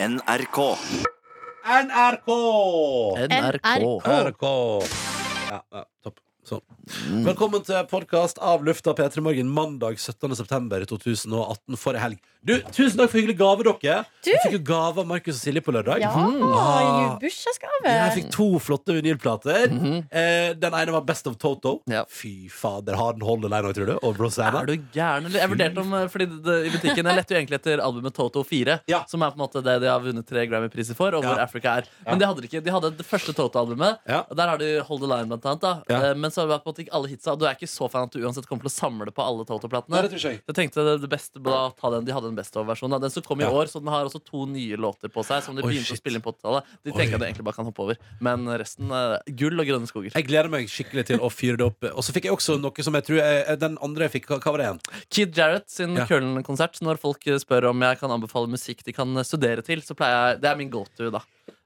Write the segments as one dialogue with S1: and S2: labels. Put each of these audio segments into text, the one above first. S1: NRK.
S2: NRK!
S3: NRK.
S2: NRK. Ja, ja, topp. Sånn. Velkommen til podkast av lufta P3 Morgen mandag 17. september 2018 for ei helg. Du, tusen takk for hyggelig gave, dere.
S3: Du!
S2: Jeg fikk jo gave av Markus og Silje på lørdag.
S3: Ja,
S4: Mm.
S2: Ah.
S3: bursdagsgave.
S2: Jeg fikk to flotte vinylplater. eh, den ene var Best of Toto.
S4: Mhm. Ja.
S2: Fy fader, har den hold alene òg, tror du? Og Rosanna?
S4: Er du gæren? eller? Jeg vurderte om eh, Fordi det, det, i butikken Jeg lette jo egentlig etter albumet Toto 4,
S2: Ja.
S4: som er på en måte det de har vunnet tre Grammy-priser for, og hvor
S2: Ja.
S4: Africa er. Men de hadde ikke De hadde det første Toto-albumet.
S2: Ja.
S4: Og Der har de Hold the Line, blant annet. Da.
S2: Ja.
S4: Eh, Men så har det på en måte ikke alle hitsa. Og du er ikke så fan at du uansett kommer til å samle på alle
S2: Nei, det
S4: Toto-platene.
S2: tror ikke jeg.
S4: Jeg tenkte det, det beste ble å ta den De hadde en best of-versjon. da. Den som kom i
S2: Ja.
S4: år, så den har også to nye låter på seg. Som de
S2: Oi,
S4: begynte
S2: shit.
S4: å spille inn på 80-tallet. De
S2: Oi.
S4: tenker at de egentlig bare kan hoppe over. Men resten eh, Gull og grønne skoger.
S2: Jeg gleder meg skikkelig til å fyre det opp. Og så fikk jeg også noe som jeg tror jeg, Den andre jeg fikk, hva hva var det igjen?
S4: Kid Jarrett sin
S2: Ja.
S4: Køln-konsert. Når folk spør om jeg kan anbefale musikk de kan studere til, så pleier jeg Det er min go to, da.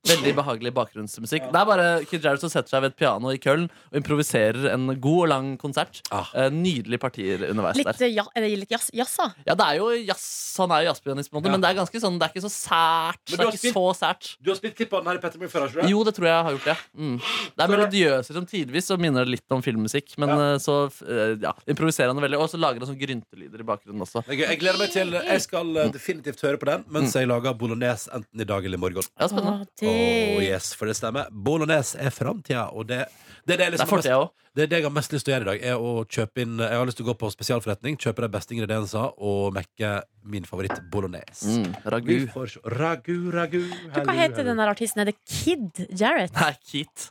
S4: Veldig behagelig bakgrunnsmusikk. Det er bare Kid Jarrett som setter seg ved et piano i Køln og improviserer en god og lang konsert.
S2: Ah.
S4: Eh, Nydelige partier underveis
S3: Litt,
S4: der.
S3: eh, ja, er det litt jazz, jazza?
S4: Ja, det er jo jazz. Han er jo jazzpianist, på en måte,
S2: Ja.
S4: men det er ganske sånn Det er ikke så sært.
S2: Men
S4: Det
S2: du
S4: er
S2: har
S4: ikke
S2: spilt-
S4: så sært.
S2: Du har spilt klipp av den her i Petter Morgen før, har ikke du?
S4: Jo, det tror jeg jeg har gjort, ja. Mm. Det er melodiøser som tidvis og minner det litt om filmmusikk. Men eh, så eh, ja, improviserer han det veldig. Og så lager han sånne gryntelyder i bakgrunnen også.
S2: Det er gøy. Jeg gleder meg til Jeg skal eh, definitivt høre på den mens jeg lager bolognese enten i dag eller i morgen.
S4: Ja, spennende.
S3: Å,
S2: Åh,
S3: det.
S4: Oh,
S2: yes, for det stemmer. Bolognese er framtida, og det, det, er det, jeg liksom
S4: Det er
S2: har mest-
S4: fortida òg.
S2: det er det jeg har mest lyst til å gjøre i dag. Er å kjøpe inn Jeg har lyst til å gå på spesialforretning, kjøpe de beste ingrediensene og mekke min favoritt bolognese.
S4: Mm,
S2: Vi
S4: ragu.
S2: får se. Ragu, ragu
S3: Du, hva heter den der artisten? Er det Kid Jarrett?
S4: Nei, Keat.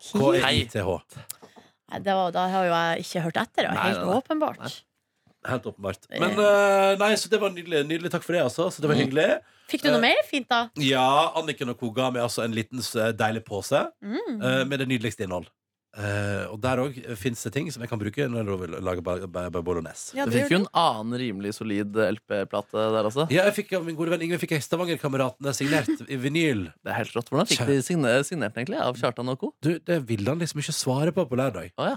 S2: E
S3: Kid?
S4: Hei.
S2: KITH.
S3: Nei, det var, da har jo jeg ikke hørt etter. da.
S4: Nei,
S3: Helt
S4: nei, nei.
S3: åpenbart.
S2: Helt åpenbart. Men eh, nei, så det var nydelig. Nydelig. Takk for det, altså. Så det
S4: Mm.
S2: var hyggelig.
S3: Fikk du noe
S2: Eh.
S3: mer fint, da?
S2: Ja, Anniken og Co. ga meg altså en liten eh, deilig pose eh, med det nydeligste innhold. Eh, og der òg fins det ting som jeg kan bruke når jeg vil lage ba- ba- ba- bolognese.
S4: Du fikk jo en annen rimelig solid LP-plate der også.
S2: Ja, jeg fikk av min gode venn Ingvild fikk jeg Stavangerkameratene signert i vinyl.
S4: Det er helt rått. Hvordan fikk de signe- signert den egentlig? Av Kjartan og co.?
S2: Du, Det ville han liksom ikke svare på på lørdag.
S4: Å, ja.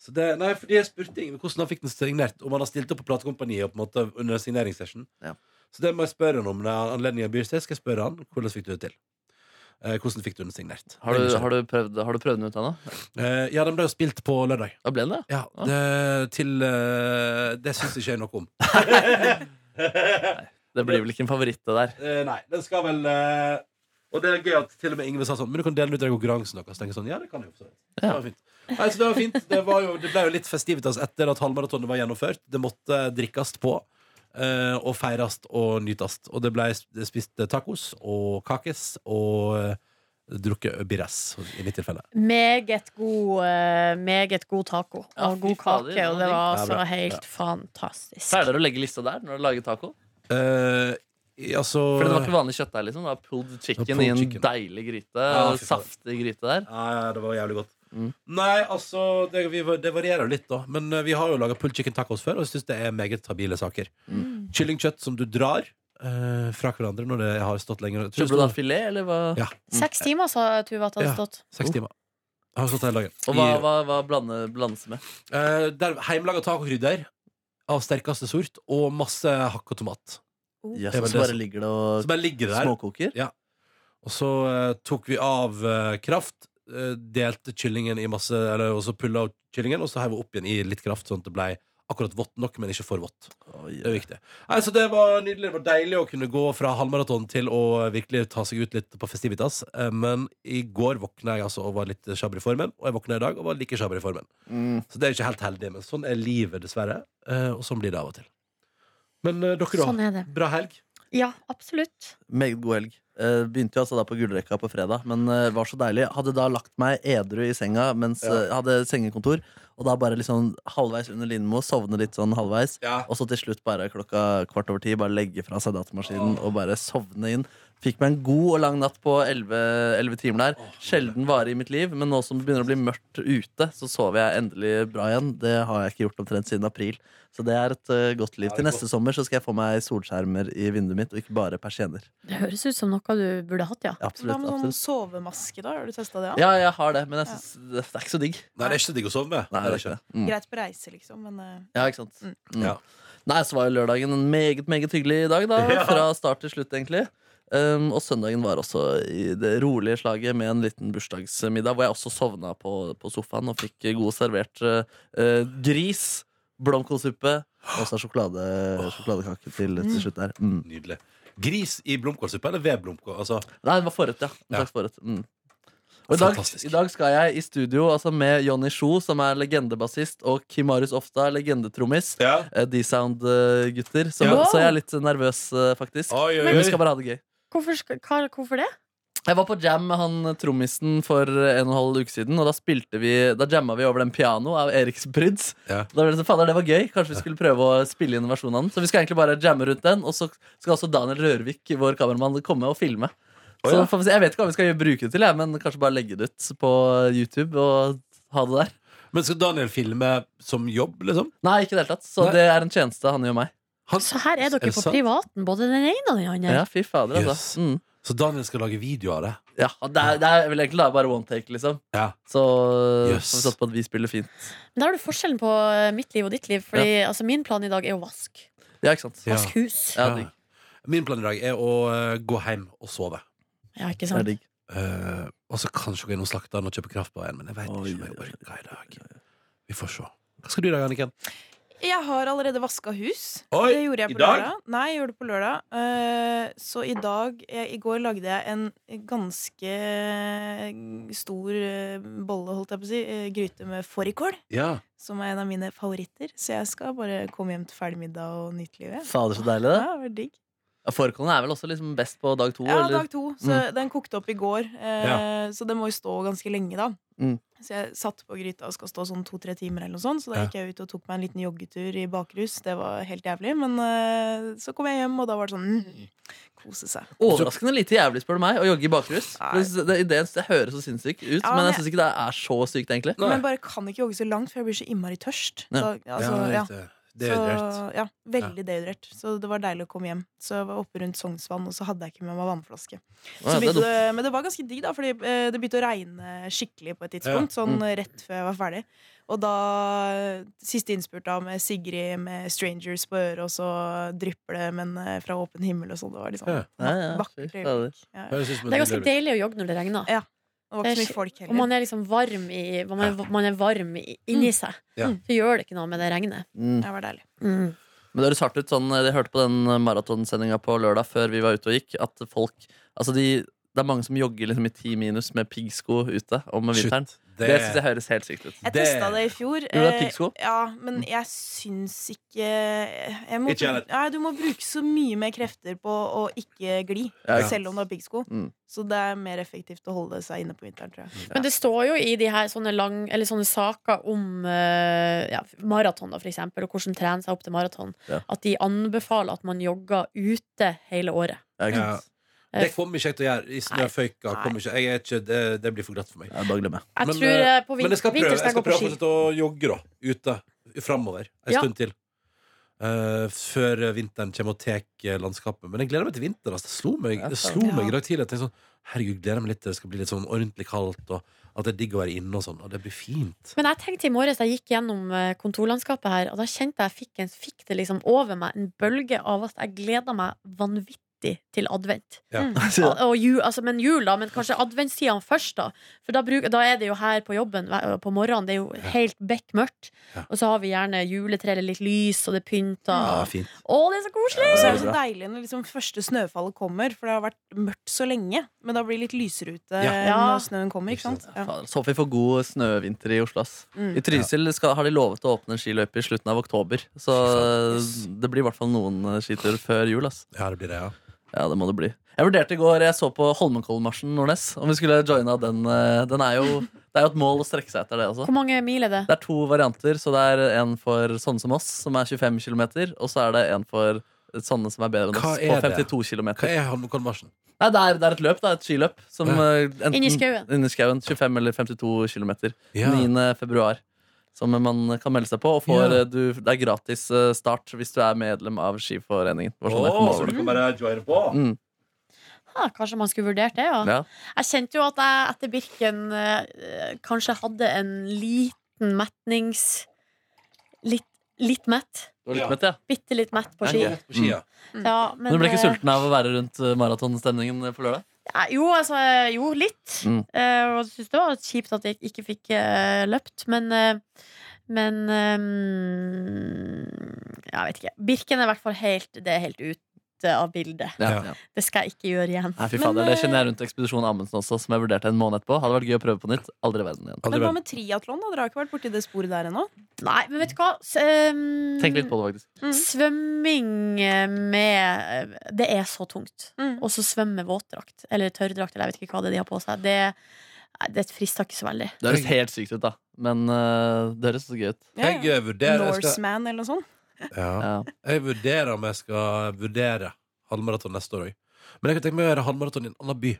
S2: Så det, nei, fordi jeg spurte Ingvild hvordan han fikk den signert, om han har stilt opp på platekompaniet på en måte under signeringssession.
S4: Ja.
S2: Så det må jeg spørre han om når anledningen byr seg. Skal jeg spørre han hvordan fikk du det til? Eh, hvordan fikk du den signert?
S4: har, du, har, du prøvd, har du prøvd den ut ennå?
S2: Eh, ja, den ble jo spilt på lørdag.
S4: Da ble den det.
S2: Ja,
S4: Ja.
S2: det, til eh, Det syns ikke jeg noe om.
S4: Det blir vel ikke en favoritt, det der.
S2: Eh, nei, den skal vel eh, Og det er gøy at til og med Ingve sa sånn Men du kan dele den ut i den konkurransen deres. Tenker jeg sånn, ja, det kan jeg jo for så vidt. Det var fint. Nei, så det var fint. Det, var jo, det ble jo litt festivitas etter at halvmaratonet var gjennomført. Det måtte drikkes på. eh, og feires og nytes. Og det ble sp- spist tacos og kakes og eh, drukket birras, i mitt tilfelle.
S3: Meget god, eh, meget god taco
S4: Ja,
S3: og
S4: fy
S3: god
S4: fader,
S3: kake. Og det
S2: det
S3: var
S2: er
S3: altså
S2: bra.
S3: helt fantastisk.
S4: Pleier dere å legge lista der når dere lager taco?
S2: Eh, i- altså
S4: For det var ikke vanlig kjøttdeig, liksom. Det var pulled chicken
S2: Det var pulled
S4: i en
S2: chicken.
S4: deilig gryte.
S2: Ja, fy faen.
S4: saftig gryte der.
S2: Ja, ja, det var jævlig godt.
S4: Mm.
S2: Nei, altså, det, vi, det varierer jo litt, da. Men eh, vi har jo laga pulled chicken tacos før, og jeg syns det er meget habile saker.
S4: Mm.
S2: Kyllingkjøtt som du drar eh, fra hverandre når det har stått lenger. Jeg tror
S4: Kjøper du da
S2: det stod-
S4: filet, eller hva?
S2: Ja.
S4: Mm.
S3: Seks timer sa Tuva at det hadde
S2: Ja.
S3: stått.
S2: Seks timer. Jeg har stått hele dagen.
S4: Oh. Og hva, hva, hva blande, blandes med?
S2: I, eh, der, heimelaga tacokrydder av sterkeste sort og masse hakk og tomat.
S4: Yes,
S2: Det er vel
S4: og så
S2: det
S4: bare ligger det
S2: Så
S4: og
S2: bare ligger det der.
S4: småkoker?
S2: Og så eh, tok vi av eh, kraft, eh, delte kyllingen i masse Eller også pulla av kyllingen, og så heiv vi opp igjen i litt kraft, sånn at det ble akkurat vått nok, men ikke for vått. Det er
S4: Oi,
S2: viktig. Nei, så det var nydelig. Det var deilig å kunne gå fra halvmaraton til å virkelig ta seg ut litt på festivitas. Eh, Men i går våkna jeg altså og var litt sjabber i formen, og jeg våkna i dag og var like sjabber i formen.
S4: Mm.
S2: Så det er ikke helt heldig, men sånn er livet, dessverre. Eh, Og sånn blir det av og til. Men eh, dere, da?
S3: Sånn er det.
S2: Bra helg.
S3: Ja, absolutt.
S4: Meget god helg. Eh, begynte jo altså da på gullrekka på fredag, men eh, var så deilig. Hadde da lagt meg edru i senga mens
S2: Ja.
S4: eh, hadde sengekontor, og da bare liksom halvveis under Lindmo, sovne litt sånn halvveis. Og så til slutt bare klokka kvart over ti bare legge fra seg datamaskinen og bare sovne inn. Fikk meg en god og lang natt på elleve timer der. Sjelden vare i mitt liv, men nå som det begynner å bli mørkt ute, så sover jeg endelig bra igjen. Det har jeg ikke gjort omtrent siden april. Så det er et eh, godt liv.
S2: Ja, det er
S4: Til neste sommer så skal jeg få meg solskjermer i vinduet mitt, og ikke bare persienner.
S3: Det høres ut som noe du burde hatt, ja.
S4: Absolutt,
S5: Hva med sånn
S4: absolutt.
S5: sovemaske, da? Har du testa det? Ja?
S4: Ja, jeg har det, men jeg synes, det er ikke så digg.
S2: Nei, det er ikke så digg å sove med.
S4: Nei,
S2: Det er det
S4: det er
S2: ikke.
S4: ikke det. Mm.
S5: Greit på reise, liksom, men eh,
S4: Ja, ikke sant?
S5: Mm.
S4: Mm.
S2: Ja.
S4: Nei, så var jo lørdagen en meget, meget hyggelig dag, da.
S2: Ja.
S4: Fra start til slutt, egentlig. Um, og søndagen var også i det rolige slaget med en liten bursdagsmiddag, hvor jeg også sovna på, på sofaen og fikk god servert eh, gris, blomkålsuppe og så sjokolade, sjokoladekake til, til slutt der. Mm.
S2: Nydelig. Gris i blomkålsuppe eller ved blomkål? Altså,
S4: Nei, det var forrett, ja. En
S2: Ja.
S4: slags forrett. Mm. Og i dag,
S2: Fantastisk.
S4: I dag skal jeg i studio altså med Jonny Sjo, som er legendebassist, og Kimarius Ofta, legendetrommis.
S2: ja.
S4: eh, D-Sound-gutter. Så,
S3: Ja.
S4: så jeg er litt nervøs, eh, faktisk.
S2: Oi, oi,
S4: Men vi
S2: oi.
S4: skal bare ha det gøy.
S3: Hvorfor, skal- hva, hvorfor det?
S4: Jeg var på jam med han trommisen for en og en halv uke siden, og da spilte vi Da jamma vi over den piano av Eriks Bryds.
S2: Ja.
S4: Da ble det sånn, fader, det var gøy. Kanskje vi skulle prøve å spille inn versjonen av den. Så vi skal egentlig bare jamme rundt den, og så skal også Daniel Rørvik, vår kameramann, komme og filme.
S2: Å,
S4: Så
S2: ja.
S4: får vi se. Jeg vet ikke hva vi skal bruke det til, jeg, men kanskje bare legge det ut på YouTube og ha det der.
S2: Men skal Daniel filme som jobb, liksom?
S4: Nei, ikke i det hele tatt. Så
S2: Nei.
S4: det er en tjeneste han gjør meg.
S2: Han,
S3: Så her er
S2: Er
S3: dere
S2: det
S3: på
S2: sant?
S3: privaten, både den ene og den andre.
S4: Ja, fy fader, altså.
S2: Yes.
S4: Mm.
S2: så Daniel skal lage video av det?
S4: Ja, det er, det er vel egentlig da bare one take, liksom.
S2: Ja.
S4: Så
S2: Yes.
S4: får vi satse på at vi spiller fint.
S3: Men da har du forskjellen på eh, mitt liv og ditt liv. Fordi altså, min plan i dag er å vaske.
S4: Ja, ikke sant?
S2: Ja.
S3: Vask hus.
S4: Ja, digg.
S2: Min plan i dag er å eh, gå hjem og sove.
S3: Ja, ikke
S4: Det er
S3: sant?
S4: digg.
S2: Eh, og så kanskje gå innom slakteren og kjøpe kraftbar igjen, men jeg vet
S4: Oi,
S2: ikke om jeg
S4: oi, oi.
S2: orker i dag. Vi får se. Hva skal du i dag, Anniken?
S5: Jeg har allerede vaska hus.
S2: Oi,
S5: det gjorde jeg
S2: i
S5: på
S2: dag?
S5: lørdag. Nei, jeg gjorde det på lørdag. Eh, så i dag eh, I går lagde jeg en ganske stor eh, bolle, holdt jeg på å si, eh, gryte med fårikål.
S2: Ja.
S5: Som er en av mine favoritter. Så jeg skal bare komme hjem til ferdig middag og nyte livet.
S4: Fader, så deilig, det.
S5: Ja, det var digg.
S4: Ja, Fårikålen er vel også liksom best på dag to?
S5: Ja,
S4: eller?
S5: dag to. Så Den kokte opp i går, eh, så den må jo stå ganske lenge, da.
S4: Mm.
S5: Så jeg satt på gryta og skal stå sånn to-tre timer, eller noe sånt. Så da
S2: Ja.
S5: gikk jeg ut og tok meg en liten joggetur i bakrus. Det var helt jævlig. Men eh, så kom jeg hjem, og da var det sånn mm, Kose seg.
S4: Overraskende lite jævlig, spør du meg, å jogge i bakrus.
S5: Nei.
S4: For Det, det, det, det høres så sinnssykt ut,
S5: Ja,
S4: men
S5: men-
S4: jeg syns ikke det er så sykt, egentlig.
S2: Nei.
S5: Men jeg bare kan ikke jogge så langt, for jeg blir så innmari tørst.
S4: Ja.
S5: Så, altså,
S2: ja, det er
S5: ja.
S2: riktig. Det er
S5: Så,
S2: drøyt.
S5: ja, veldig dehydrert. Så det var deilig å komme hjem. Så jeg var oppe rundt Sognsvann, og så hadde jeg ikke med meg vannflaske.
S4: Å,
S5: Så
S4: ja, det er
S5: begynte
S4: dumt.
S5: det, men det var ganske digg, da, fordi eh, det begynte å regne skikkelig på et tidspunkt. Sånn
S4: Mm.
S5: eh, rett før jeg var ferdig. Og da eh, Siste innspurt da med Sigrid med 'Strangers' på øret, og så drypper det, men eh, fra åpen himmel og sånn. Det var liksom
S2: Ja.
S4: Ja, ja, fy
S5: vakkert
S4: fader.
S5: øyeblikk. Ja, ja.
S2: Høres ut som en
S3: Det er ganske
S2: drøy-
S3: deilig å jogge når det regner.
S5: Ja. Det var ikke så mye folk
S3: Og
S5: heller.
S3: man er liksom varm i Man er, man er varm i, inni seg.
S2: Ja.
S3: Så gjør det ikke noe med det regnet.
S4: Mm.
S5: Det var deilig.
S3: Mm.
S4: Men det høres hardt ut sånn, Jeg hørte på den maratonsendinga på lørdag før vi var ute og gikk, at folk Altså, de, det er mange som jogger liksom i ti minus med piggsko ute om
S2: Shit,
S4: vinteren. Det,
S2: det
S4: syns jeg høres helt sykt ut.
S5: Jeg
S2: Det-
S5: testa det i fjor.
S4: Gjorde du det,
S5: eh,
S4: piggsko?
S5: Ja,
S4: Mm.
S5: men jeg syns ikke jeg må,
S2: Ikke jeg heller.
S5: Nei, Du må bruke så mye mer krefter på å ikke gli,
S4: Ja.
S5: selv om du har piggsko.
S4: Mm.
S5: Så det er mer effektivt å holde seg inne på vinteren, tror jeg.
S3: Men det står jo i de her sånne, lang, eller sånne saker om eh, ja, maraton, da, for eksempel, og hvordan trene seg opp til maraton,
S4: Ja.
S3: at de anbefaler at man jogger ute hele året.
S4: Ja, ikke sant?
S2: Det kommer ikke jeg til å gjøre. I snøføyka
S3: Nei.
S2: kommer ikke jeg er ikke det, det blir for glatt for meg.
S4: Ja, bare glem det.
S3: Jeg
S2: Men,
S3: tror
S2: eh,
S3: eh, på
S2: Men
S3: vin
S2: jeg skal prøve,
S3: vinteren
S2: jeg
S3: skal
S2: skal
S3: jeg gå på
S2: prøve å
S3: ski.
S2: fortsette å jogge da ute framover en
S3: Ja.
S2: stund til. Eh, før vinteren kommer og tar landskapet. Men jeg gleder meg til vinteren. Altså. Det slo meg,
S4: Ja,
S2: det
S4: faen.
S2: slo meg
S5: Ja.
S2: i dag tidlig. at Jeg tenkte sånn, Herregud, gleder meg litt til det skal bli litt sånn ordentlig kaldt, og at det er digg å være inne og sånn. Og det blir fint.
S3: Men jeg tenkte i morges da jeg gikk gjennom eh, kontorlandskapet her, og da kjente jeg fikk, en, fikk det liksom over meg en bølge av at jeg gleda meg vanvittig til advent.
S4: Ja.
S3: Og jul, altså, men jul, da, men kanskje adventstida først, da. For da, bruk, da er det jo her på jobben hver- på morgenen, det er jo helt bekk mørkt.
S2: Ja.
S3: Og så har vi gjerne juletre eller litt lys, og det er pynta.
S2: Ja, fint.
S3: Å, det er så koselig!
S5: Og så er
S4: det er
S5: det så deilig når liksom første snøfallet kommer, for det har vært mørkt så lenge. Men da blir det litt lysere ute
S2: Ja.
S3: Ja.
S5: når snøen kommer, ikke sant? Ja.
S4: Fader, Så får vi få god snøvinter i Oslo. ass.
S5: Mm.
S4: I Trysil skal, har de lovet å åpne en skiløype i slutten av oktober. Så
S2: Fy
S4: det blir i hvert fall noen eh, skiturer før jul. ass.
S2: Ja, det blir det, ja.
S4: Ja, det må det bli. Jeg vurderte i går, jeg så på Holmenkollmarsjen Nordnes. Om vi skulle joina den. eh, den er jo, det er jo et mål å strekke seg etter det. altså.
S3: Hvor mange mil er det?
S4: Det er to varianter. så Det er en for sånne som oss, som er 25 km. Og så er det en for sånne som er bedre enn
S2: Hva
S4: oss, på
S2: er det?
S4: 52 km.
S2: Hva er Holmenkollmarsjen?
S4: Nei, det er, det er et løp, da, et skiløp. Som,
S2: Ja.
S4: eh, enten-
S3: Inni skauen.
S4: Inni skauen. 25 eller 52 km.
S2: Ja.
S4: 9. februar. Som man kan melde seg på. Og får,
S2: Ja.
S4: eh, du, det er gratis eh, start hvis du er medlem av Skiforeningen. Det var sånn jeg
S2: Å,
S4: kom over det.
S2: kan bare joine på?
S4: Mm,
S3: Ah, kanskje man skulle vurdert det, ja.
S4: ja.
S3: Jeg kjente jo at jeg etter Birken eh, kanskje hadde en liten metnings... Litt, litt mett.
S4: Du var litt
S2: Ja.
S4: mett, ja. Mm.
S3: Bitte litt mett på
S2: Jeg
S3: ski.
S2: går rett på skia.
S3: Ja, men,
S4: Men du ble
S3: eh,
S4: ikke sulten av å være rundt eh, maratonstemningen på lørdag?
S3: Nei, Jo, altså, jo, litt.
S4: Mm.
S3: Eh, og jeg syns det var kjipt at jeg ikke fikk eh, løpt, men eh, Men eh, Jeg vet ikke. Birken er i hvert fall helt, det er helt ute av bildet.
S4: Ja,
S2: Ja.
S4: ja.
S3: Det skal jeg ikke gjøre igjen.
S4: Nei, fy
S5: Men,
S4: fader, Det
S5: eh,
S4: kjenner jeg rundt Ekspedisjon Amundsen også, som jeg vurderte en måned etterpå. Hadde vært gøy å prøve på nytt. Aldri i verden igjen.
S2: Aldri
S5: Men hva
S2: vært-
S5: med triatlon? da? Dere har ikke vært borti det sporet der ennå?
S3: Nei, men vet du hva? S ehm,
S4: Tenk litt på det, faktisk.
S3: Svømming eh, med Det er så tungt.
S5: Mm.
S3: Og så svømme våtdrakt. Eller tørrdrakt, eller jeg vet ikke hva det er de har på seg. Det, nei, det frister ikke så veldig.
S4: Det høres helt sykt ut, da. Men eh, det høres så gøy ut.
S5: Ja, ja.
S2: Jeg eh, vurderer jeg skal,
S5: Norseman eller noe sånt?
S2: ja.
S4: Ja.
S2: Jeg vurderer om jeg skal vurdere halvmaraton neste år òg. Men jeg kan tenke meg å gjøre halvmaraton i en annen by.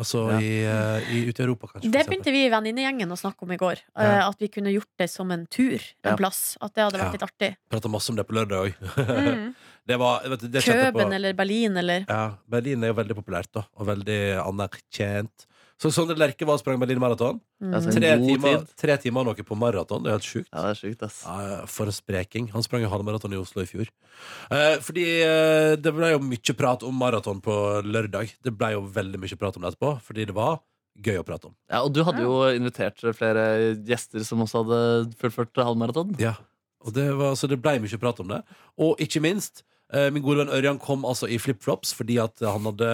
S2: Altså
S4: Ja.
S2: i, eh, i, ute i Europa, kanskje. for
S3: Det
S2: eksempel.
S3: begynte vi i venninnegjengen å snakke om i går.
S2: Ja.
S3: eh, At vi kunne gjort det som en tur en
S4: Ja.
S3: plass. At det hadde
S2: Ja.
S3: vært litt artig.
S2: Prata masse om det på lørdag òg.
S5: Mm.
S2: det var vet du, det kjente jeg på.
S3: Køben eller Berlin eller
S2: Ja, Berlin er jo veldig populært, da. Og veldig anerkjent. Så Sondre Lerche var og sprang Berlin maraton.
S3: mm.
S4: Jeg ser-
S2: Tre
S4: god
S2: timer,
S4: tid.
S2: tre timer og noe på maraton. Det er helt sjukt.
S4: ja, det er sjukt, ass.
S2: Ja, Eh, For en spreking. Han sprang jo halvmaraton i Oslo i fjor. Eh, fordi eh, det ble jo mye prat om maraton på lørdag. Det ble jo veldig mye prat om det etterpå, fordi det var gøy å prate om.
S4: Ja, og du hadde jo invitert flere gjester som også hadde fullført halvmaraton.
S2: Ja. Og det var, så det ble mye prat om det. Og ikke minst, eh, min gode venn Ørjan kom altså i flipflops fordi at han hadde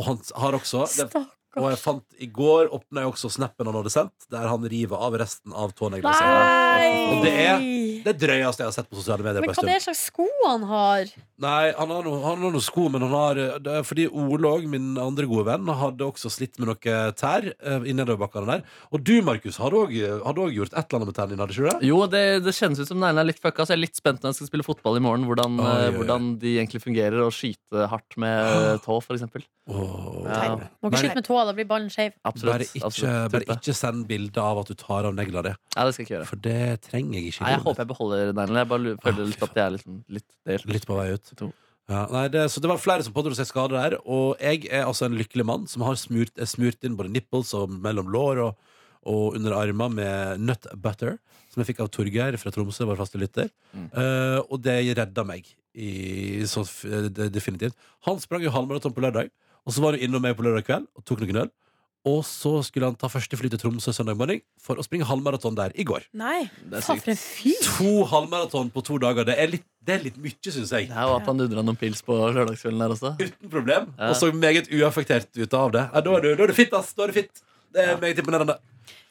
S2: Og han har også det, Og jeg
S3: Stakkars.
S2: fant i går åpna jeg også snappen han hadde sendt, der han river av resten av tånegla si.
S3: Nei!
S2: Altså, Og det er- Det drøyeste jeg har sett på sosiale medier.
S3: Men
S2: på en
S3: hva
S2: stund.
S3: det er slags sko han har?
S2: Nei, han har, noe, han har noen sko, men han har eh, det er Fordi Ole og min andre gode venn, hadde også slitt med noen tær eh, i nedoverbakkene der. Og du, eh, Markus, hadde òg gjort et eller annet med tærne dine, hadde ikke du det?
S4: Jo, det, det kjennes ut som neglene er litt fucka, så jeg er litt spent når jeg skal spille fotball i morgen. Hvordan,
S2: Oi, Ah. oi,
S4: eh,
S2: oi.
S4: hvordan de egentlig fungerer, og skyte hardt med eh, tå, for eksempel.
S2: Åh.
S4: Ja,
S3: Må ikke skyte med tåa, da blir ballen skeiv.
S4: absolutt.
S2: Bare ikke,
S4: absolutt.
S2: bare
S4: Type.
S2: ikke send bilde av at du tar av negla di,
S4: Nei, det skal jeg ikke gjøre.
S2: for det trenger jeg ikke. i
S4: Nei, jeg
S2: livet
S4: håper jeg beholder neglene. Jeg bare lu-
S2: Å, fy
S4: føler litt at jeg er litt, litt delt.
S2: Litt på vei ut.
S4: To.
S2: Ja, nei, det, så det var flere som pådro seg skade der, og jeg er altså en lykkelig mann som har smurt, er smurt inn både nipples og mellom lår og, og under armer med nut butter, som jeg fikk av Torgeir fra Tromsø, vår faste lytter.
S4: Mm.
S2: Eh, og det redda meg, i, så, f- eh, det, definitivt. Han sprang jo halvmaraton på lørdag, og så var han innom meg på lørdag kveld og tok noen øl. Og så skulle han ta første fly til Tromsø søndag morgen for å springe halvmaraton der i går.
S5: Nei.
S4: Det er
S3: Faen,
S4: sykt.
S3: for en fyr!
S2: To halvmaraton på to dager, det er litt, det er litt mye, syns jeg.
S4: Det er jo at han dundra noen pils på lørdagskvelden der også.
S2: uten problem,
S4: Ja.
S2: og så meget uaffektert ut av det. Ja, da, er du, da er du fitt, ass! Da er du fitt. Det er meget imponerende.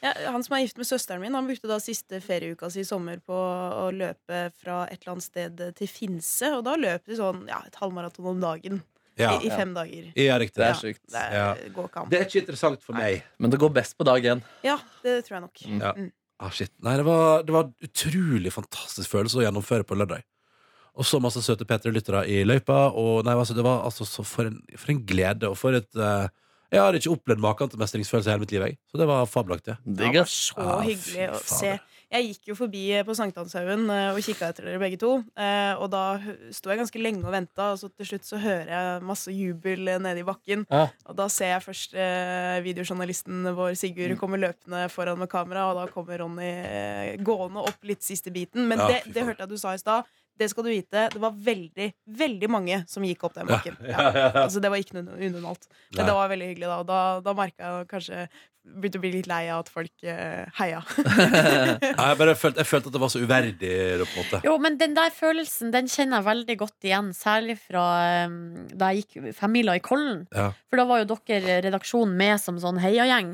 S5: Ja, han som er gift med søsteren min, han brukte da siste ferieuka si i sommer på å løpe fra et eller annet sted til Finse, og da løp de sånn ja, et halvmaraton om dagen
S2: Ja,
S5: i, i fem dager.
S2: ja riktig.
S4: Det
S5: Ja,
S4: er sykt.
S5: Det er,
S2: Ja.
S5: går ikke an.
S2: Det er ikke interessant for meg.
S4: Men det går best på dag én.
S5: Ja, det tror jeg nok.
S4: Mm.
S2: Ja.
S5: Mm.
S2: Ah, shit. Nei, det var, det var en utrolig fantastisk følelse å gjennomføre på lørdag. Og så masse søte P3-lyttere i løypa. Og nei, altså, det var altså så for en, for en glede og for et eh, Jeg har ikke opplevd maken til mestringsfølelse i hele mitt liv, jeg. Så det var fabelaktig.
S4: Digg, ass.
S5: Så
S2: Ja, fy
S5: hyggelig å se.
S2: fader.
S5: Jeg gikk jo forbi på Sankthanshaugen eh, og kikka etter dere begge to. eh, Og da hø- sto jeg ganske lenge og venta, og så til slutt så hører jeg masse jubel eh, nede i bakken.
S4: Ja.
S5: Og da ser jeg først eh, videojournalisten vår Sigurd komme løpende foran med kamera, og da kommer Ronny eh, gående opp litt siste biten. Men
S2: Ja,
S5: det,
S2: fy
S5: det
S2: fader.
S5: hørte jeg du sa i stad. Det skal du vite. Det var veldig, veldig mange som gikk opp den bakken. Ja. Altså, det var ikke noe unormalt. Men
S2: Nei.
S5: det var veldig hyggelig, da. Og da, da merka jeg kanskje Begynte å bli litt lei av at folk eh, heia.
S2: Nei, jeg, bare følte, jeg følte at det var så uverdig, da, på en måte.
S3: Jo, men den der følelsen den kjenner jeg veldig godt igjen, særlig fra um, da jeg gikk femmila i Kollen.
S2: Ja.
S3: For da var jo dere redaksjonen med som sånn heiagjeng,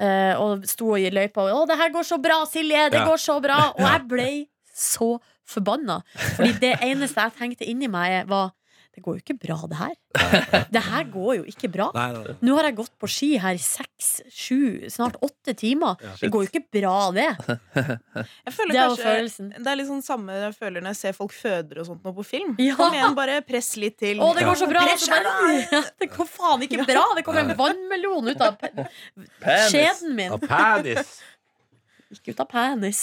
S3: eh, og sto i løypa og 'Å, det her går så bra, Silje! Det
S2: Ja.
S3: går så bra!' Og jeg ble så forbanna. Fordi det eneste jeg tenkte inni meg, var 'Det går jo ikke bra, det her'. Det her går jo ikke bra.
S2: Nei, nei, nei.
S3: Nå har jeg gått på ski her i seks, sju, snart åtte timer.
S2: Ja.
S3: Det går jo ikke bra, det.
S5: Jeg føler
S3: Det var
S5: kanskje
S3: følelsen.
S5: Det er litt sånn samme jeg føler når jeg ser folk føder og sånt nå på film.
S3: Ja.
S5: Kom igjen, bare press litt til.
S3: Å, det går så bra!
S5: Press
S3: Så bare, det går faen ikke bra! Det kom en vannmelon ut av pe- skjeden min.
S2: Av penis.
S3: Ikke ut av penis.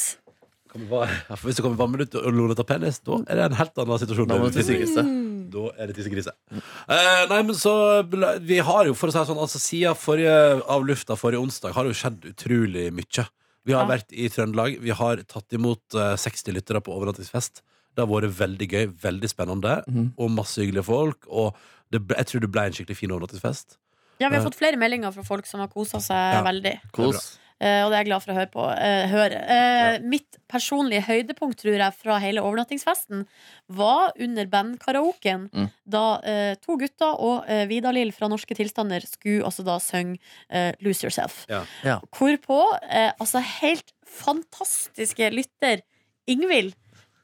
S2: Kommer bare- Ja, for Hvis det kommer vannminutt og lone tar penis, da er det en helt annen situasjon.
S4: Da må du
S2: Tissegris.
S4: tissegrise.
S3: Mm.
S2: Da er det tissegrise. Eh, nei, men så ble- Vi har jo, for å si det sånn, altså siden forrige av lufta forrige onsdag har det jo skjedd utrolig mye. Vi har
S3: Ja.
S2: vært i Trøndelag. Vi har tatt imot eh, 60 lyttere på overnattingsfest. Det har vært veldig gøy, veldig spennende,
S4: Mhm.
S2: og masse hyggelige folk. Og det ble, jeg tror det ble en skikkelig fin overnattingsfest.
S3: Ja, Vi har fått flere meldinger fra folk som har kosa seg
S2: Ja.
S3: veldig.
S4: Kos.
S3: Eh, og det er jeg glad for å høre på. eh, høre. Eh, Mitt personlige høydepunkt tror jeg fra hele overnattingsfesten var under bandkaraoken,
S4: Mm.
S3: da eh, to gutter og eh, Vidar-Lill fra Norske Tilstander skulle altså da synge eh, Lose Yourself.
S2: Ja.
S4: Ja.
S3: Hvorpå eh, altså helt fantastiske lytter Ingvild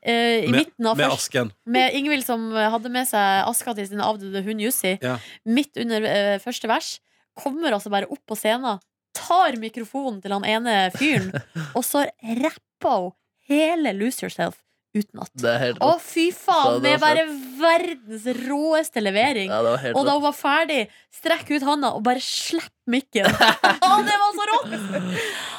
S3: eh, i
S2: Med,
S3: midten av
S2: med
S3: første
S2: asken.
S3: med Ingvild som eh, hadde med seg aska til sin avdøde hund Jussi,
S2: Ja.
S3: midt under eh, første vers, kommer altså bare opp på scenen, tar mikrofonen til han ene fyren, og så rapper hun hele Lose Yourself utenat.
S4: Det er helt
S3: Å,
S4: rått.
S3: fy
S4: Ja,
S3: faen!
S4: det
S3: Med
S4: var
S3: bare verdens råeste levering.
S4: Ja, det var helt
S3: Og da
S4: rått.
S3: hun var ferdig, strekk ut handa og bare slipp mikken. Å, det var så rått!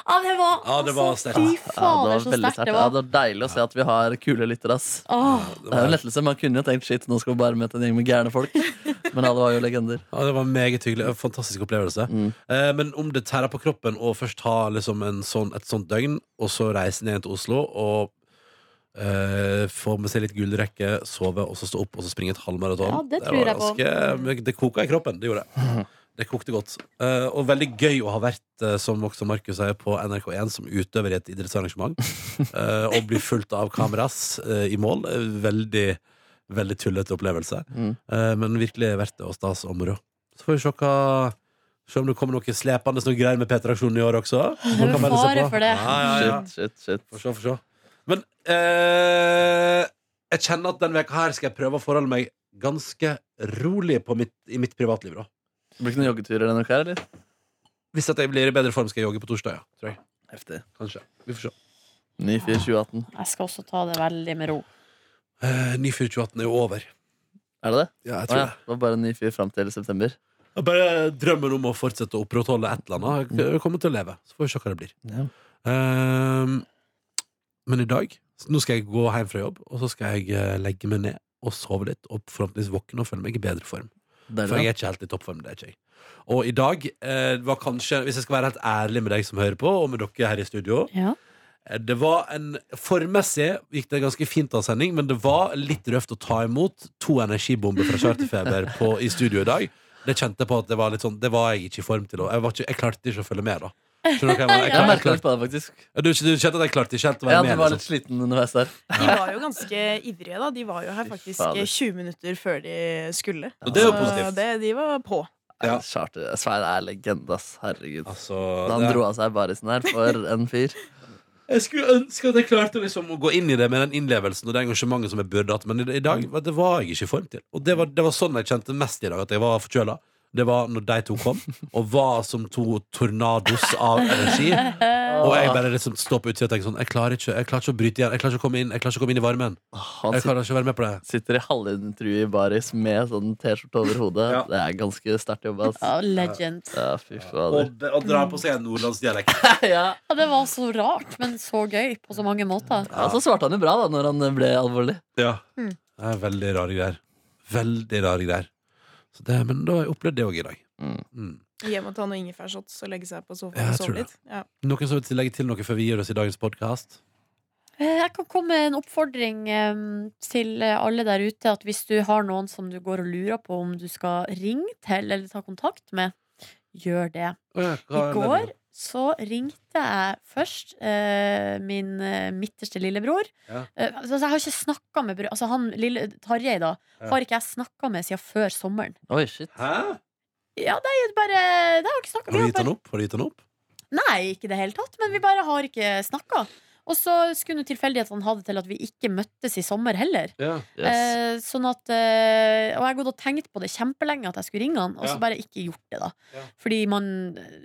S3: Ja, det var,
S2: Ja, det var
S3: altså,
S2: sterkt.
S3: Fy
S4: Ja,
S3: fader,
S4: det
S3: så
S4: var veldig
S3: sterkt
S4: sterkt.
S3: det
S4: Ja,
S3: var.
S4: det var deilig å se at vi har kule lyttere, ass.
S3: Åh.
S2: Det
S4: Det er jo en
S2: var,
S4: lettelse. Man kunne jo tenkt shit, nå skal vi bare møte en gjeng med gærne folk. Men alle var jo legender.
S2: ja, det var meget hyggelig. En fantastisk opplevelse.
S4: Mm.
S2: Eh, men om det tærer på kroppen å først ha liksom en sånn, et sånt døgn, og så reise ned til Oslo og eh, få med seg litt gullrekke, sove, og så stå opp og så springe et halvmaraton
S3: Ja, det tror
S2: var
S3: jeg på.
S2: ganske- Det koka i kroppen. Det gjorde det. Det kokte godt. Eh, og veldig gøy å ha vært, eh, som også Markus sier, på NRK1 som utøver i et idrettsarrangement. eh, og bli fulgt av kameras eh, i mål. Eh, Veldig, veldig tullete opplevelse.
S4: Mm.
S2: Eh, men virkelig verdt det og stas og moro. Så får vi se hva Se om det kommer noe slepende noe greier med Peter Aksjonen i år også. Man kan melde seg
S3: fare
S2: på.
S3: for det.
S2: Ja, ja, ja.
S4: Shit, shit, shit.
S2: Få se, få se. Men eh, jeg kjenner at denne veka her skal jeg prøve å forholde meg ganske rolig på mitt, i mitt privatliv. da
S4: Det blir ikke noen joggeturer denne uka, her, eller?
S2: Hvis at jeg blir i bedre form, skal jeg jogge på torsdag. Ja, tror jeg.
S4: Heftig.
S2: Kanskje. Vi får se.
S4: Ny fyr
S2: Ah.
S4: 2018.
S3: Jeg skal også ta det veldig med ro.
S2: Eh, ny fyr 2018 er jo over.
S4: Er det det?
S2: Ja, jeg
S4: Å
S2: tror
S4: ja, det var bare en ny fyr fram til september.
S2: det. Bare drømmen om å fortsette å opprettholde et eller annet.
S4: Mm.
S2: Jeg kommer til å leve. Så får vi se hva det blir.
S4: Ja.
S2: Ehm, men i dag Nå skal jeg gå hjem fra jobb, og så skal jeg eh, legge meg ned og sove litt. Og forhåpentligvis våkne og føle meg i bedre form. For jeg
S4: Deilig.
S2: er ikke helt i toppform. det er ikke jeg Og i dag eh, var kanskje, hvis jeg skal være helt ærlig med deg som hører på, og med dere her i studio eh, Det var en Formmessig gikk det ganske fint av sending, men det var litt røft å ta imot to energibomber fra Charterfeber på, i studio i dag. Det kjente jeg på at det var litt sånn Det var jeg ikke i form til. Og jeg, var ikke, jeg klarte ikke å følge med, da. Skjønner du hva jeg mener?
S4: da. Jeg
S2: Jeg,
S4: merka
S2: klarte-
S4: litt på det, faktisk.
S2: ja, Du, du kjente at jeg klarte ikke helt å være
S4: Ja,
S2: med?
S4: Du var
S2: liksom.
S4: litt sliten underveis der.
S5: De var jo ganske ivrige, da. De var jo her
S4: Fy
S5: faktisk
S4: fader.
S5: eh, 20 minutter før de skulle.
S2: Og det er jo
S5: Så
S2: positivt.
S5: Det, de var på.
S2: Ja.
S4: Charter, Svein er legende, ass. Herregud.
S2: Altså,
S4: Da
S2: det
S4: han
S2: er-
S4: dro av seg barisen her for en fyr.
S2: Jeg skulle ønske at jeg klarte liksom å gå inn i det med den innlevelsen og det engasjementet som jeg burde hatt, men i, i dag var- det var jeg ikke i form til. Og det var, det var sånn jeg kjente mest i dag, at jeg var forkjøla. Det var når de to kom, og var som to tornados av energi. Og jeg bare liksom står på utsida og tenker sånn Jeg klarer ikke, jeg klarer ikke å bryte igjen. Jeg klarer ikke å komme inn, jeg klarer ikke å komme inn i varmen.
S4: Han
S2: Jeg
S4: sit-
S2: klarer ikke å være med på det.
S4: sitter i halvintervju i baris med sånn T-skjorte over hodet.
S2: Ja.
S4: Det er ganske sterkt jobba, ass.
S3: Ja, legend.
S4: Ja, fy fader.
S2: dra på seg en nordlandsdialekt.
S4: Ja.
S3: Ja, det var så rart, men så gøy på så mange måter.
S4: Ja, så svarte han jo bra da når han ble alvorlig.
S2: Ja.
S5: Mm.
S2: Det er veldig rare greier. Veldig rare greier. Så det, men da har jeg opplevd det òg i dag. Mm.
S5: Hjem og ta noen ingefærshots og legge seg på sofaen
S2: Ja, jeg
S5: og
S2: tror
S5: sove
S2: det.
S5: litt. Ja.
S2: Noen som vil legge til noe før vi gir oss i dagens podkast?
S3: Eh, Jeg kan komme med en oppfordring eh, til eh, alle der ute. At hvis du har noen som du går og lurer på om du skal ringe til eller ta kontakt med, gjør det. I går så ringte jeg først eh, min eh, midterste lillebror.
S2: Ja.
S3: Eh, altså, jeg har ikke snakka med bro- Altså han lille Tarjei, da,
S2: Ja.
S3: har ikke jeg snakka med siden før sommeren.
S4: Oi, shit.
S2: Hæ?
S3: Ja, det er jo bare Det har jeg ikke
S2: Har
S3: snakket
S2: du
S3: med. Vi har
S2: gitt
S3: bare-
S2: han opp? Har du gitt han opp?
S3: Nei, ikke i det hele tatt, men vi bare har ikke snakka. Og så skulle nå tilfeldighetene ha det til at vi ikke møttes i sommer heller.
S2: Ja.
S4: Yes.
S3: Eh, sånn at eh, Og jeg har gått og tenkt på det kjempelenge at jeg skulle ringe han, og så
S2: Ja.
S3: bare ikke gjort det, da.
S2: Ja.
S3: Fordi man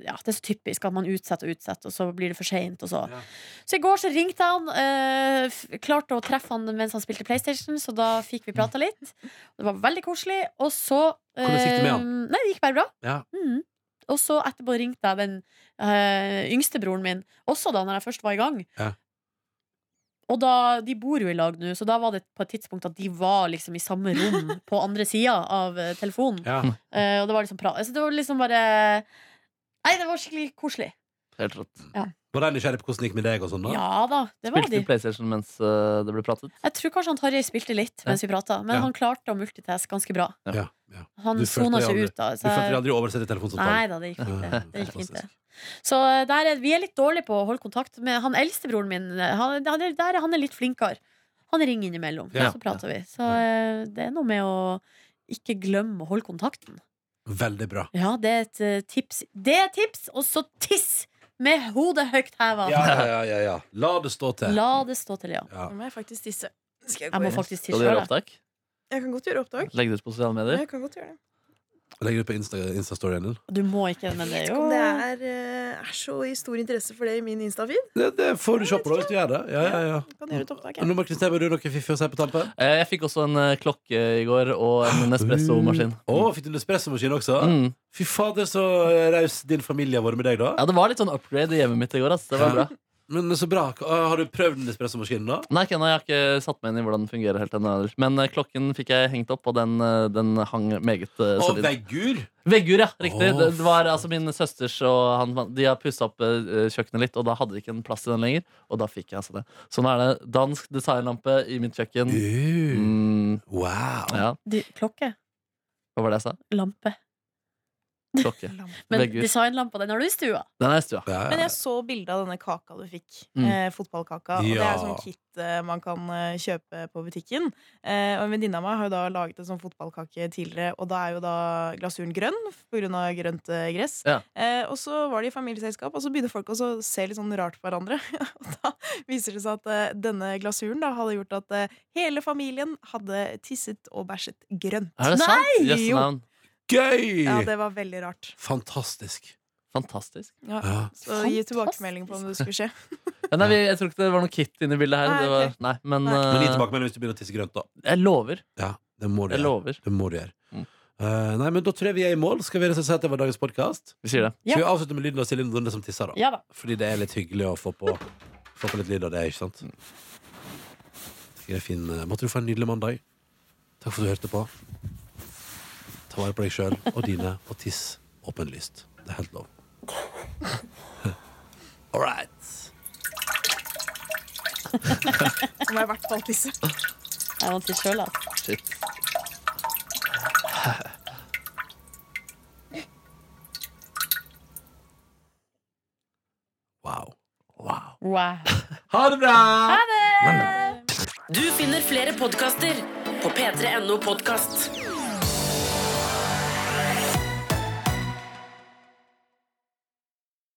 S3: Ja, det er så typisk at man utsetter og utsetter, og så blir det for seint, og så
S2: Ja.
S3: Så i går så ringte jeg han. eh, f- klarte å treffe han mens han spilte PlayStation, så da fikk vi prata litt. Det var veldig koselig. Og så
S2: Hvordan gikk det med han?
S3: eh, Nei, det gikk bare bra.
S2: Ja.
S3: Mm. Og så etterpå ringte jeg den eh, yngste broren min, også da når jeg først var i gang.
S2: Ja.
S3: Og da, De bor jo i lag nå, så da var det på et tidspunkt at de var liksom i samme rom på andre sida av eh, telefonen.
S2: ja.
S3: Eh, og det var liksom pra altså, Det var liksom bare Nei, det var skikkelig koselig.
S4: Helt rått.
S3: Ja.
S2: Var de nysgjerrig på hvordan det gikk med deg? og sånn da?
S3: Ja da, det var
S4: Spilte
S3: de.
S4: du PlayStation mens eh, det ble pratet?
S3: Jeg tror kanskje han Tarjei spilte litt mens vi prata, men
S2: Ja.
S3: han klarte å multitaske ganske bra.
S2: Ja, ja.
S3: Han
S2: Du følte
S3: sona
S2: deg
S3: seg
S2: aldri-
S3: ut, da.
S2: Du følte deg
S3: jeg-
S2: aldri oversett i telefonsamtalen?
S3: altså- Nei da, det gikk fint, det. det, gikk fint, det.
S2: Fantastisk.
S3: Så eh, der er, vi er litt dårlige på å holde kontakt med han eldstebroren min. eh, Han, han, er, der, er han er litt flinkere. Han ringer innimellom,
S2: Ja.
S3: så prater vi. Så eh, det er noe med å ikke glemme å holde kontakten.
S2: Veldig bra.
S3: Ja, det er et eh, tips. Det er et tips, og så tiss! Med hodet høyt heva.
S2: Ja, ja, ja, ja, ja. La det stå til.
S3: La det stå til, ja.
S2: Ja.
S5: Nå må jeg faktisk tisse. Skal jeg,
S3: Jeg
S5: gå
S3: må
S5: inn?
S3: faktisk tisse
S4: Skal du gjøre
S3: sjøl.
S4: opptak?
S5: jeg kan godt gjøre opptak.
S4: Legge det ut på sosiale medier?
S5: Jeg kan godt gjøre det.
S2: Legger ut på Insta- Insta-storyen din.
S3: Du må ikke, men det er
S5: Vet ikke
S3: jo
S5: om det er, eh, er så i stor interesse for det i min Insta-feed.
S2: Det, det får du se på da, hvis du gjør det. Ja, ja, ja.
S5: Jeg Kan gjøre et opptak, jeg.
S2: Nå, Markus Neby, har du noe fiffig å si på tampen?
S4: Eh, Jeg fikk også en eh, klokke i går og en Nespresso-maskin.
S2: Å, fikk du en espressomaskin også?
S4: Mm.
S2: Fy fader, så eh, raus din familie har vært med deg, da.
S4: Ja, det var litt sånn upgrade i hjemmet mitt i går. Ass. Det var bra.
S2: Men så bra. Har du prøvd den espressomaskinen, da?
S4: Nei, ikke ennå. Jeg har ikke satt meg inn i hvordan den fungerer helt ennå. heller. Men eh, klokken fikk jeg hengt opp, og den, eh, den hang meget eh,
S2: Å,
S4: solid.
S2: veggur!
S4: Veggur, ja. Riktig.
S2: Å,
S4: Det det var altså min søsters og han De har pussa opp eh, kjøkkenet litt, og da hadde de ikke en plass til den lenger. Og da fikk jeg altså det. Så nå er det dansk designlampe i mitt kjøkken.
S2: Uh,
S4: Mm,
S2: wow.
S4: ja,
S3: du, Klokke.
S4: hva var det jeg sa?
S3: Lampe.
S4: Klokke.
S3: Men
S4: Veggur.
S3: designlampa, den har du i stua.
S4: Den er i stua.
S2: Ja,
S5: Men
S2: ja.
S5: jeg så bilde av denne kaka du fikk.
S4: Mm.
S5: Eh, fotballkaka. Og det
S2: Ja.
S5: er sånn kit eh, man kan eh, kjøpe på butikken. Eh, og en venninne av meg har jo da laget en sånn fotballkake tidligere, og da er jo da glasuren grønn pga. grønt eh, gress.
S4: Ja.
S5: Eh, og så var de i familieselskap, og så begynner folk også å se litt sånn rart på hverandre. og da viser det seg at eh, denne glasuren da hadde gjort at eh, hele familien hadde tisset og bæsjet grønt.
S4: Er det sant? Jøsse
S5: Jo.
S4: navn.
S2: Gøy!
S5: Ja, det var veldig rart.
S2: Fantastisk.
S4: Fantastisk.
S5: Ja.
S2: Ja.
S5: Så gi tilbakemelding på om det skulle skje.
S4: Ja, nei, vi, jeg tror ikke det var noe kit inni bildet her.
S5: Nei,
S4: Det var, nei, men
S5: Nei.
S2: Men gi
S4: eh,
S2: tilbakemelding hvis du begynner å tisse grønt, da.
S4: jeg lover.
S2: Ja, det må du
S4: Jeg
S2: gjøre.
S4: lover.
S2: Det må du gjøre.
S4: Mm.
S2: Eh, nei, men Da tror jeg vi er i mål. Skal vi rett og slett si at det var dagens podkast?
S4: Vi sier det.
S3: Ja.
S2: Skal vi avslutte med lyden av Silje Nordnes som tisser, da?
S3: Ja da.
S2: Fordi det er litt hyggelig å få på, få på litt lyd av det, ikke sant? Det er fin. eh, Måtte du få en nydelig mandag. Takk for at du hørte på. Ta vare på deg sjøl og dine, og tiss åpenlyst. Det er helt lov. All right.
S5: Så må jeg i hvert fall tisse.
S3: Jeg vant til sjøl, altså.
S4: Shit.
S2: Wow.
S3: Wow.
S2: Ha det bra!
S1: Du finner flere podkaster på p3.no podkast.